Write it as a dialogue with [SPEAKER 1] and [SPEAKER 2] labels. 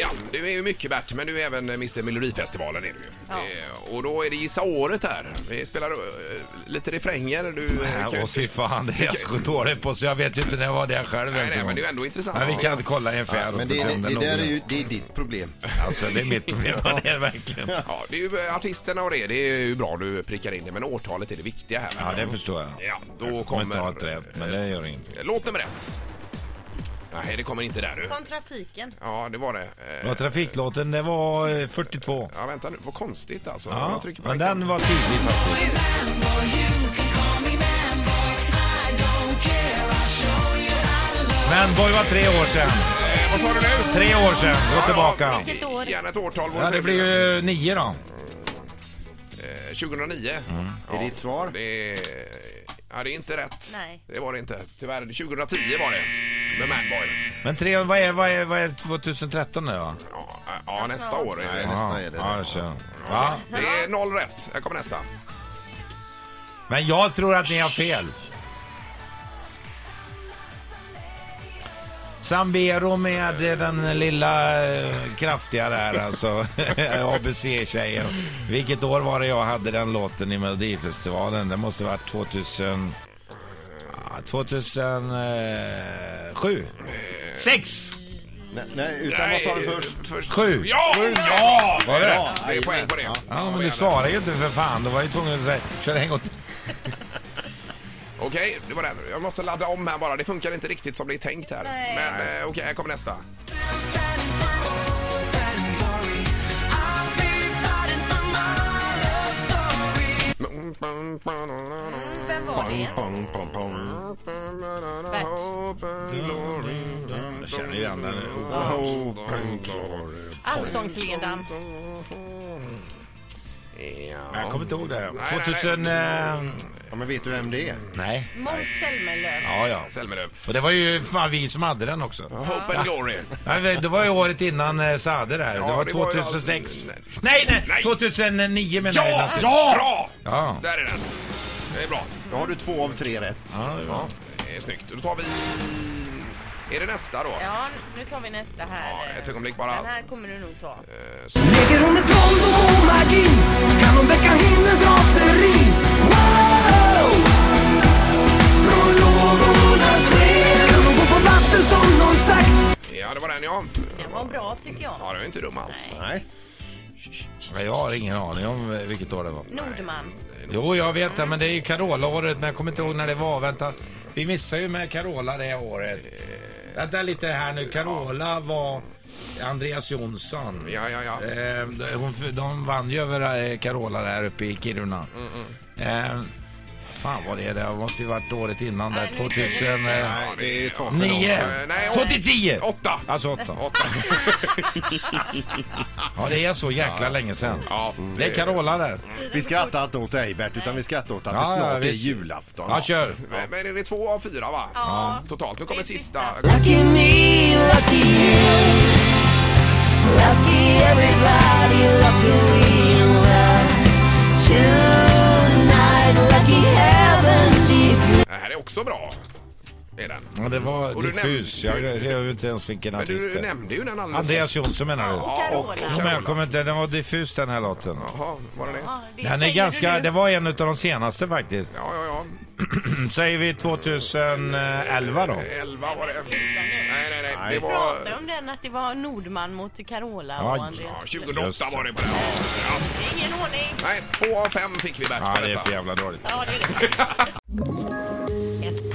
[SPEAKER 1] Ja, du är ju mycket Bert, men du är även Mr Melodifestivalen. Är du. ju. Eh, och då är det Gissa året här. Vi spelar eh, lite refränger. Du, eh,
[SPEAKER 2] Nej,
[SPEAKER 1] kan ju-
[SPEAKER 2] och Äh, fy fan, det är jag sju år på så jag vet ju inte när jag var där själv
[SPEAKER 1] nej,
[SPEAKER 2] ens en
[SPEAKER 1] nej,
[SPEAKER 2] gång.
[SPEAKER 1] men det är ju ändå intressant.
[SPEAKER 2] Men vi
[SPEAKER 1] att se.
[SPEAKER 2] kan inte kolla ungefär.
[SPEAKER 3] Men det, det, det, där är ju det är ditt problem.
[SPEAKER 2] Alltså det är mitt problem, det är det verkligen.
[SPEAKER 1] Ja, det är ju eh, artisterna och det. Det är ju bra du prickar in det, men årtalet är det viktiga här.
[SPEAKER 2] Ja, det förstår jag.
[SPEAKER 1] Ja, då
[SPEAKER 2] jag
[SPEAKER 1] kommer- Eh,
[SPEAKER 2] inte ha ett rätt, men det gör inget.
[SPEAKER 1] Låt nummer ett. Nej, det kommer inte där du.
[SPEAKER 4] Från trafiken.
[SPEAKER 1] Ja, det var det. Eh,
[SPEAKER 2] Ja, trafiklåten, det var eh, 42.
[SPEAKER 1] Ja, vänta nu. Vad konstigt alltså.
[SPEAKER 2] Ja,
[SPEAKER 1] Jag trycker på
[SPEAKER 2] men
[SPEAKER 1] den
[SPEAKER 2] den var tidig faktiskt. Men boy var tre år sedan.
[SPEAKER 1] Eh, Vad sa du nu?
[SPEAKER 2] Tre år sedan, gå
[SPEAKER 1] Ja,
[SPEAKER 2] tillbaka.
[SPEAKER 1] ja,
[SPEAKER 4] Vilket år?
[SPEAKER 1] Gärna ett årtal. vore
[SPEAKER 2] Ja, det
[SPEAKER 1] trevligt.
[SPEAKER 2] blir ju nio då.
[SPEAKER 1] Eh, 2009. Ja,
[SPEAKER 3] Mm. Är det ditt svar?
[SPEAKER 1] Det är... Ja, det är inte rätt.
[SPEAKER 4] Nej.
[SPEAKER 1] Det var det inte. Tyvärr. 2010 var det. Med Manboy.
[SPEAKER 2] Men tre, vad är, vad är, vad är 2013 nu då?
[SPEAKER 1] Ja, ja nästa år. är
[SPEAKER 3] Nej,
[SPEAKER 1] det.
[SPEAKER 3] nästa är det.
[SPEAKER 2] Ja, jag kör. Ja.
[SPEAKER 1] Det är noll rätt. Här kommer nästa.
[SPEAKER 2] Men jag tror att ni har fel. Sambero med eh, den lilla eh, kraftiga där alltså, ABC-tjejen. Vilket år var det jag hade den låten i Melodifestivalen? Det måste ha varit 2000... ah, 2007? eh, Sex!
[SPEAKER 3] Nej, nej, utan vad sa du först?
[SPEAKER 1] Först...
[SPEAKER 2] Sju.
[SPEAKER 1] Ja! ja!
[SPEAKER 2] Var det
[SPEAKER 1] Bra.
[SPEAKER 2] rätt?
[SPEAKER 1] Det är poäng på det.
[SPEAKER 2] Ja, men du svarar ju inte för fan. Då var jag ju tvungen att säga, kör en gång till.
[SPEAKER 1] Okej, det var den. Jag måste ladda om här bara. Det funkar inte riktigt som det är tänkt här.
[SPEAKER 4] Nej.
[SPEAKER 1] Men eh, okej, här kommer nästa.
[SPEAKER 4] Vem var det?
[SPEAKER 2] Jag känner ju igen den.
[SPEAKER 4] Allsångsledaren.
[SPEAKER 2] Jag kommer inte ihåg det.
[SPEAKER 1] nej, nej.
[SPEAKER 2] 2000... eh,
[SPEAKER 3] Ja, men vet du vem det är?
[SPEAKER 2] Nej.
[SPEAKER 4] Måns Zelmerlöw.
[SPEAKER 2] Ja, ja.
[SPEAKER 1] Selmelöv.
[SPEAKER 2] Och det var ju fan vi som hade den också.
[SPEAKER 1] Hope and glory.
[SPEAKER 2] Nej, men Det var ju året innan eh, Saade där. Det
[SPEAKER 1] Ja,
[SPEAKER 2] var
[SPEAKER 1] det var ju
[SPEAKER 2] 2006.
[SPEAKER 1] alltså-
[SPEAKER 2] Nej,
[SPEAKER 1] Nej.
[SPEAKER 2] nej! 2009 menar jag.
[SPEAKER 1] Ja!
[SPEAKER 2] naturligtvis.
[SPEAKER 1] Ja! Bra!
[SPEAKER 2] Ja.
[SPEAKER 1] Där är den. Det är bra.
[SPEAKER 3] Då har du två av tre rätt.
[SPEAKER 2] Ja, det var-
[SPEAKER 1] Det är snyggt. Då tar vi... Är det nästa då?
[SPEAKER 4] Ja, nu tar vi nästa
[SPEAKER 1] Ja,
[SPEAKER 4] här.
[SPEAKER 1] ett ögonblick bara.
[SPEAKER 4] Den här kommer du nog ta.
[SPEAKER 1] Eh, så-
[SPEAKER 5] Lägger hon ett våld och magi kan hon väcka himlens raseri. Wow! Från lågornas sken kan hon gå på vatten som någon sagt.
[SPEAKER 1] Ja, det var den ja.
[SPEAKER 4] Den var bra tycker
[SPEAKER 1] Ja,
[SPEAKER 4] jag.
[SPEAKER 1] det var inte dum alls.
[SPEAKER 3] Nej.
[SPEAKER 2] Nej, Jag har ingen aning om eh, vilket år det var.
[SPEAKER 4] Nordman.
[SPEAKER 2] Jo, jag vet det, men det är ju Carola-året, men jag kommer inte ihåg när det var. Vänta, vi missar ju med Carola det året. Vänta lite här nu, Carola var Andreas Jonsson.
[SPEAKER 1] Ja, ja, ja.
[SPEAKER 2] Eh, hon, de vann ju över eh, Carola där uppe i Kiruna.
[SPEAKER 1] Mm,
[SPEAKER 2] Eh, fan vad det är, det måste ju varit året innan där,
[SPEAKER 4] Nej, nu-
[SPEAKER 2] 2000...
[SPEAKER 1] Ja,
[SPEAKER 2] Eh,
[SPEAKER 1] det är toppen.
[SPEAKER 2] Nio!
[SPEAKER 1] Eh, Nej, åt-
[SPEAKER 2] 2010!
[SPEAKER 1] åtta.
[SPEAKER 2] Alltså åtta.
[SPEAKER 1] Åtta.
[SPEAKER 2] Ja, det är så jäkla länge sedan.
[SPEAKER 1] Ja,
[SPEAKER 2] Det är Carola där.
[SPEAKER 3] Vi skrattar inte åt dig Bert, utan vi skrattar åt att
[SPEAKER 2] Ja,
[SPEAKER 3] det
[SPEAKER 2] ja,
[SPEAKER 3] snart är
[SPEAKER 2] visst.
[SPEAKER 3] julafton.
[SPEAKER 2] Ja, kör.
[SPEAKER 1] Men men är det två av fyra va?
[SPEAKER 4] Ja.
[SPEAKER 1] Totalt. Nu kommer
[SPEAKER 4] Det är
[SPEAKER 1] sista.
[SPEAKER 5] Lucky me, lucky you. Lucky everybody, lucky we love. Tonight, lucky heaven deep.
[SPEAKER 1] Det här är också bra. Är den.
[SPEAKER 2] Ja, det var
[SPEAKER 1] Och du
[SPEAKER 2] diffus. Jag
[SPEAKER 1] nämnde-
[SPEAKER 2] jag vet inte ens vilken
[SPEAKER 1] Men du,
[SPEAKER 2] artist
[SPEAKER 1] du
[SPEAKER 2] det är.
[SPEAKER 1] nämnde ju den alldeles
[SPEAKER 2] Andreas Jonsson menar du?
[SPEAKER 1] Ja, och
[SPEAKER 4] Carola.
[SPEAKER 2] Jo, men jag
[SPEAKER 1] Carola.
[SPEAKER 2] kommer inte, den var diffus den här låten.
[SPEAKER 1] Jaha, var det det?
[SPEAKER 4] Ja, det
[SPEAKER 2] Den är
[SPEAKER 4] säger
[SPEAKER 2] ganska,
[SPEAKER 4] du nu.
[SPEAKER 2] det var en av de senaste faktiskt.
[SPEAKER 1] Ja, ja, ja.
[SPEAKER 2] Mm, Säger vi 2011 då?
[SPEAKER 1] Elva var det.
[SPEAKER 4] sluta nu.
[SPEAKER 1] Nej, nej, nej. Det
[SPEAKER 3] Nej.
[SPEAKER 1] var...
[SPEAKER 4] Prata om den att det var Nordman mot Carola
[SPEAKER 2] Ja, ja,
[SPEAKER 4] och
[SPEAKER 1] Ja,
[SPEAKER 4] Andreas.
[SPEAKER 1] 2008 var det på den. Ja, ja.
[SPEAKER 4] Ingen ordning.
[SPEAKER 1] Nej, två av fem fick vi Bert
[SPEAKER 2] Ja,
[SPEAKER 1] på
[SPEAKER 2] det är
[SPEAKER 1] detta.
[SPEAKER 2] för jävla dåligt.
[SPEAKER 4] Ja, det är det.
[SPEAKER 6] Ett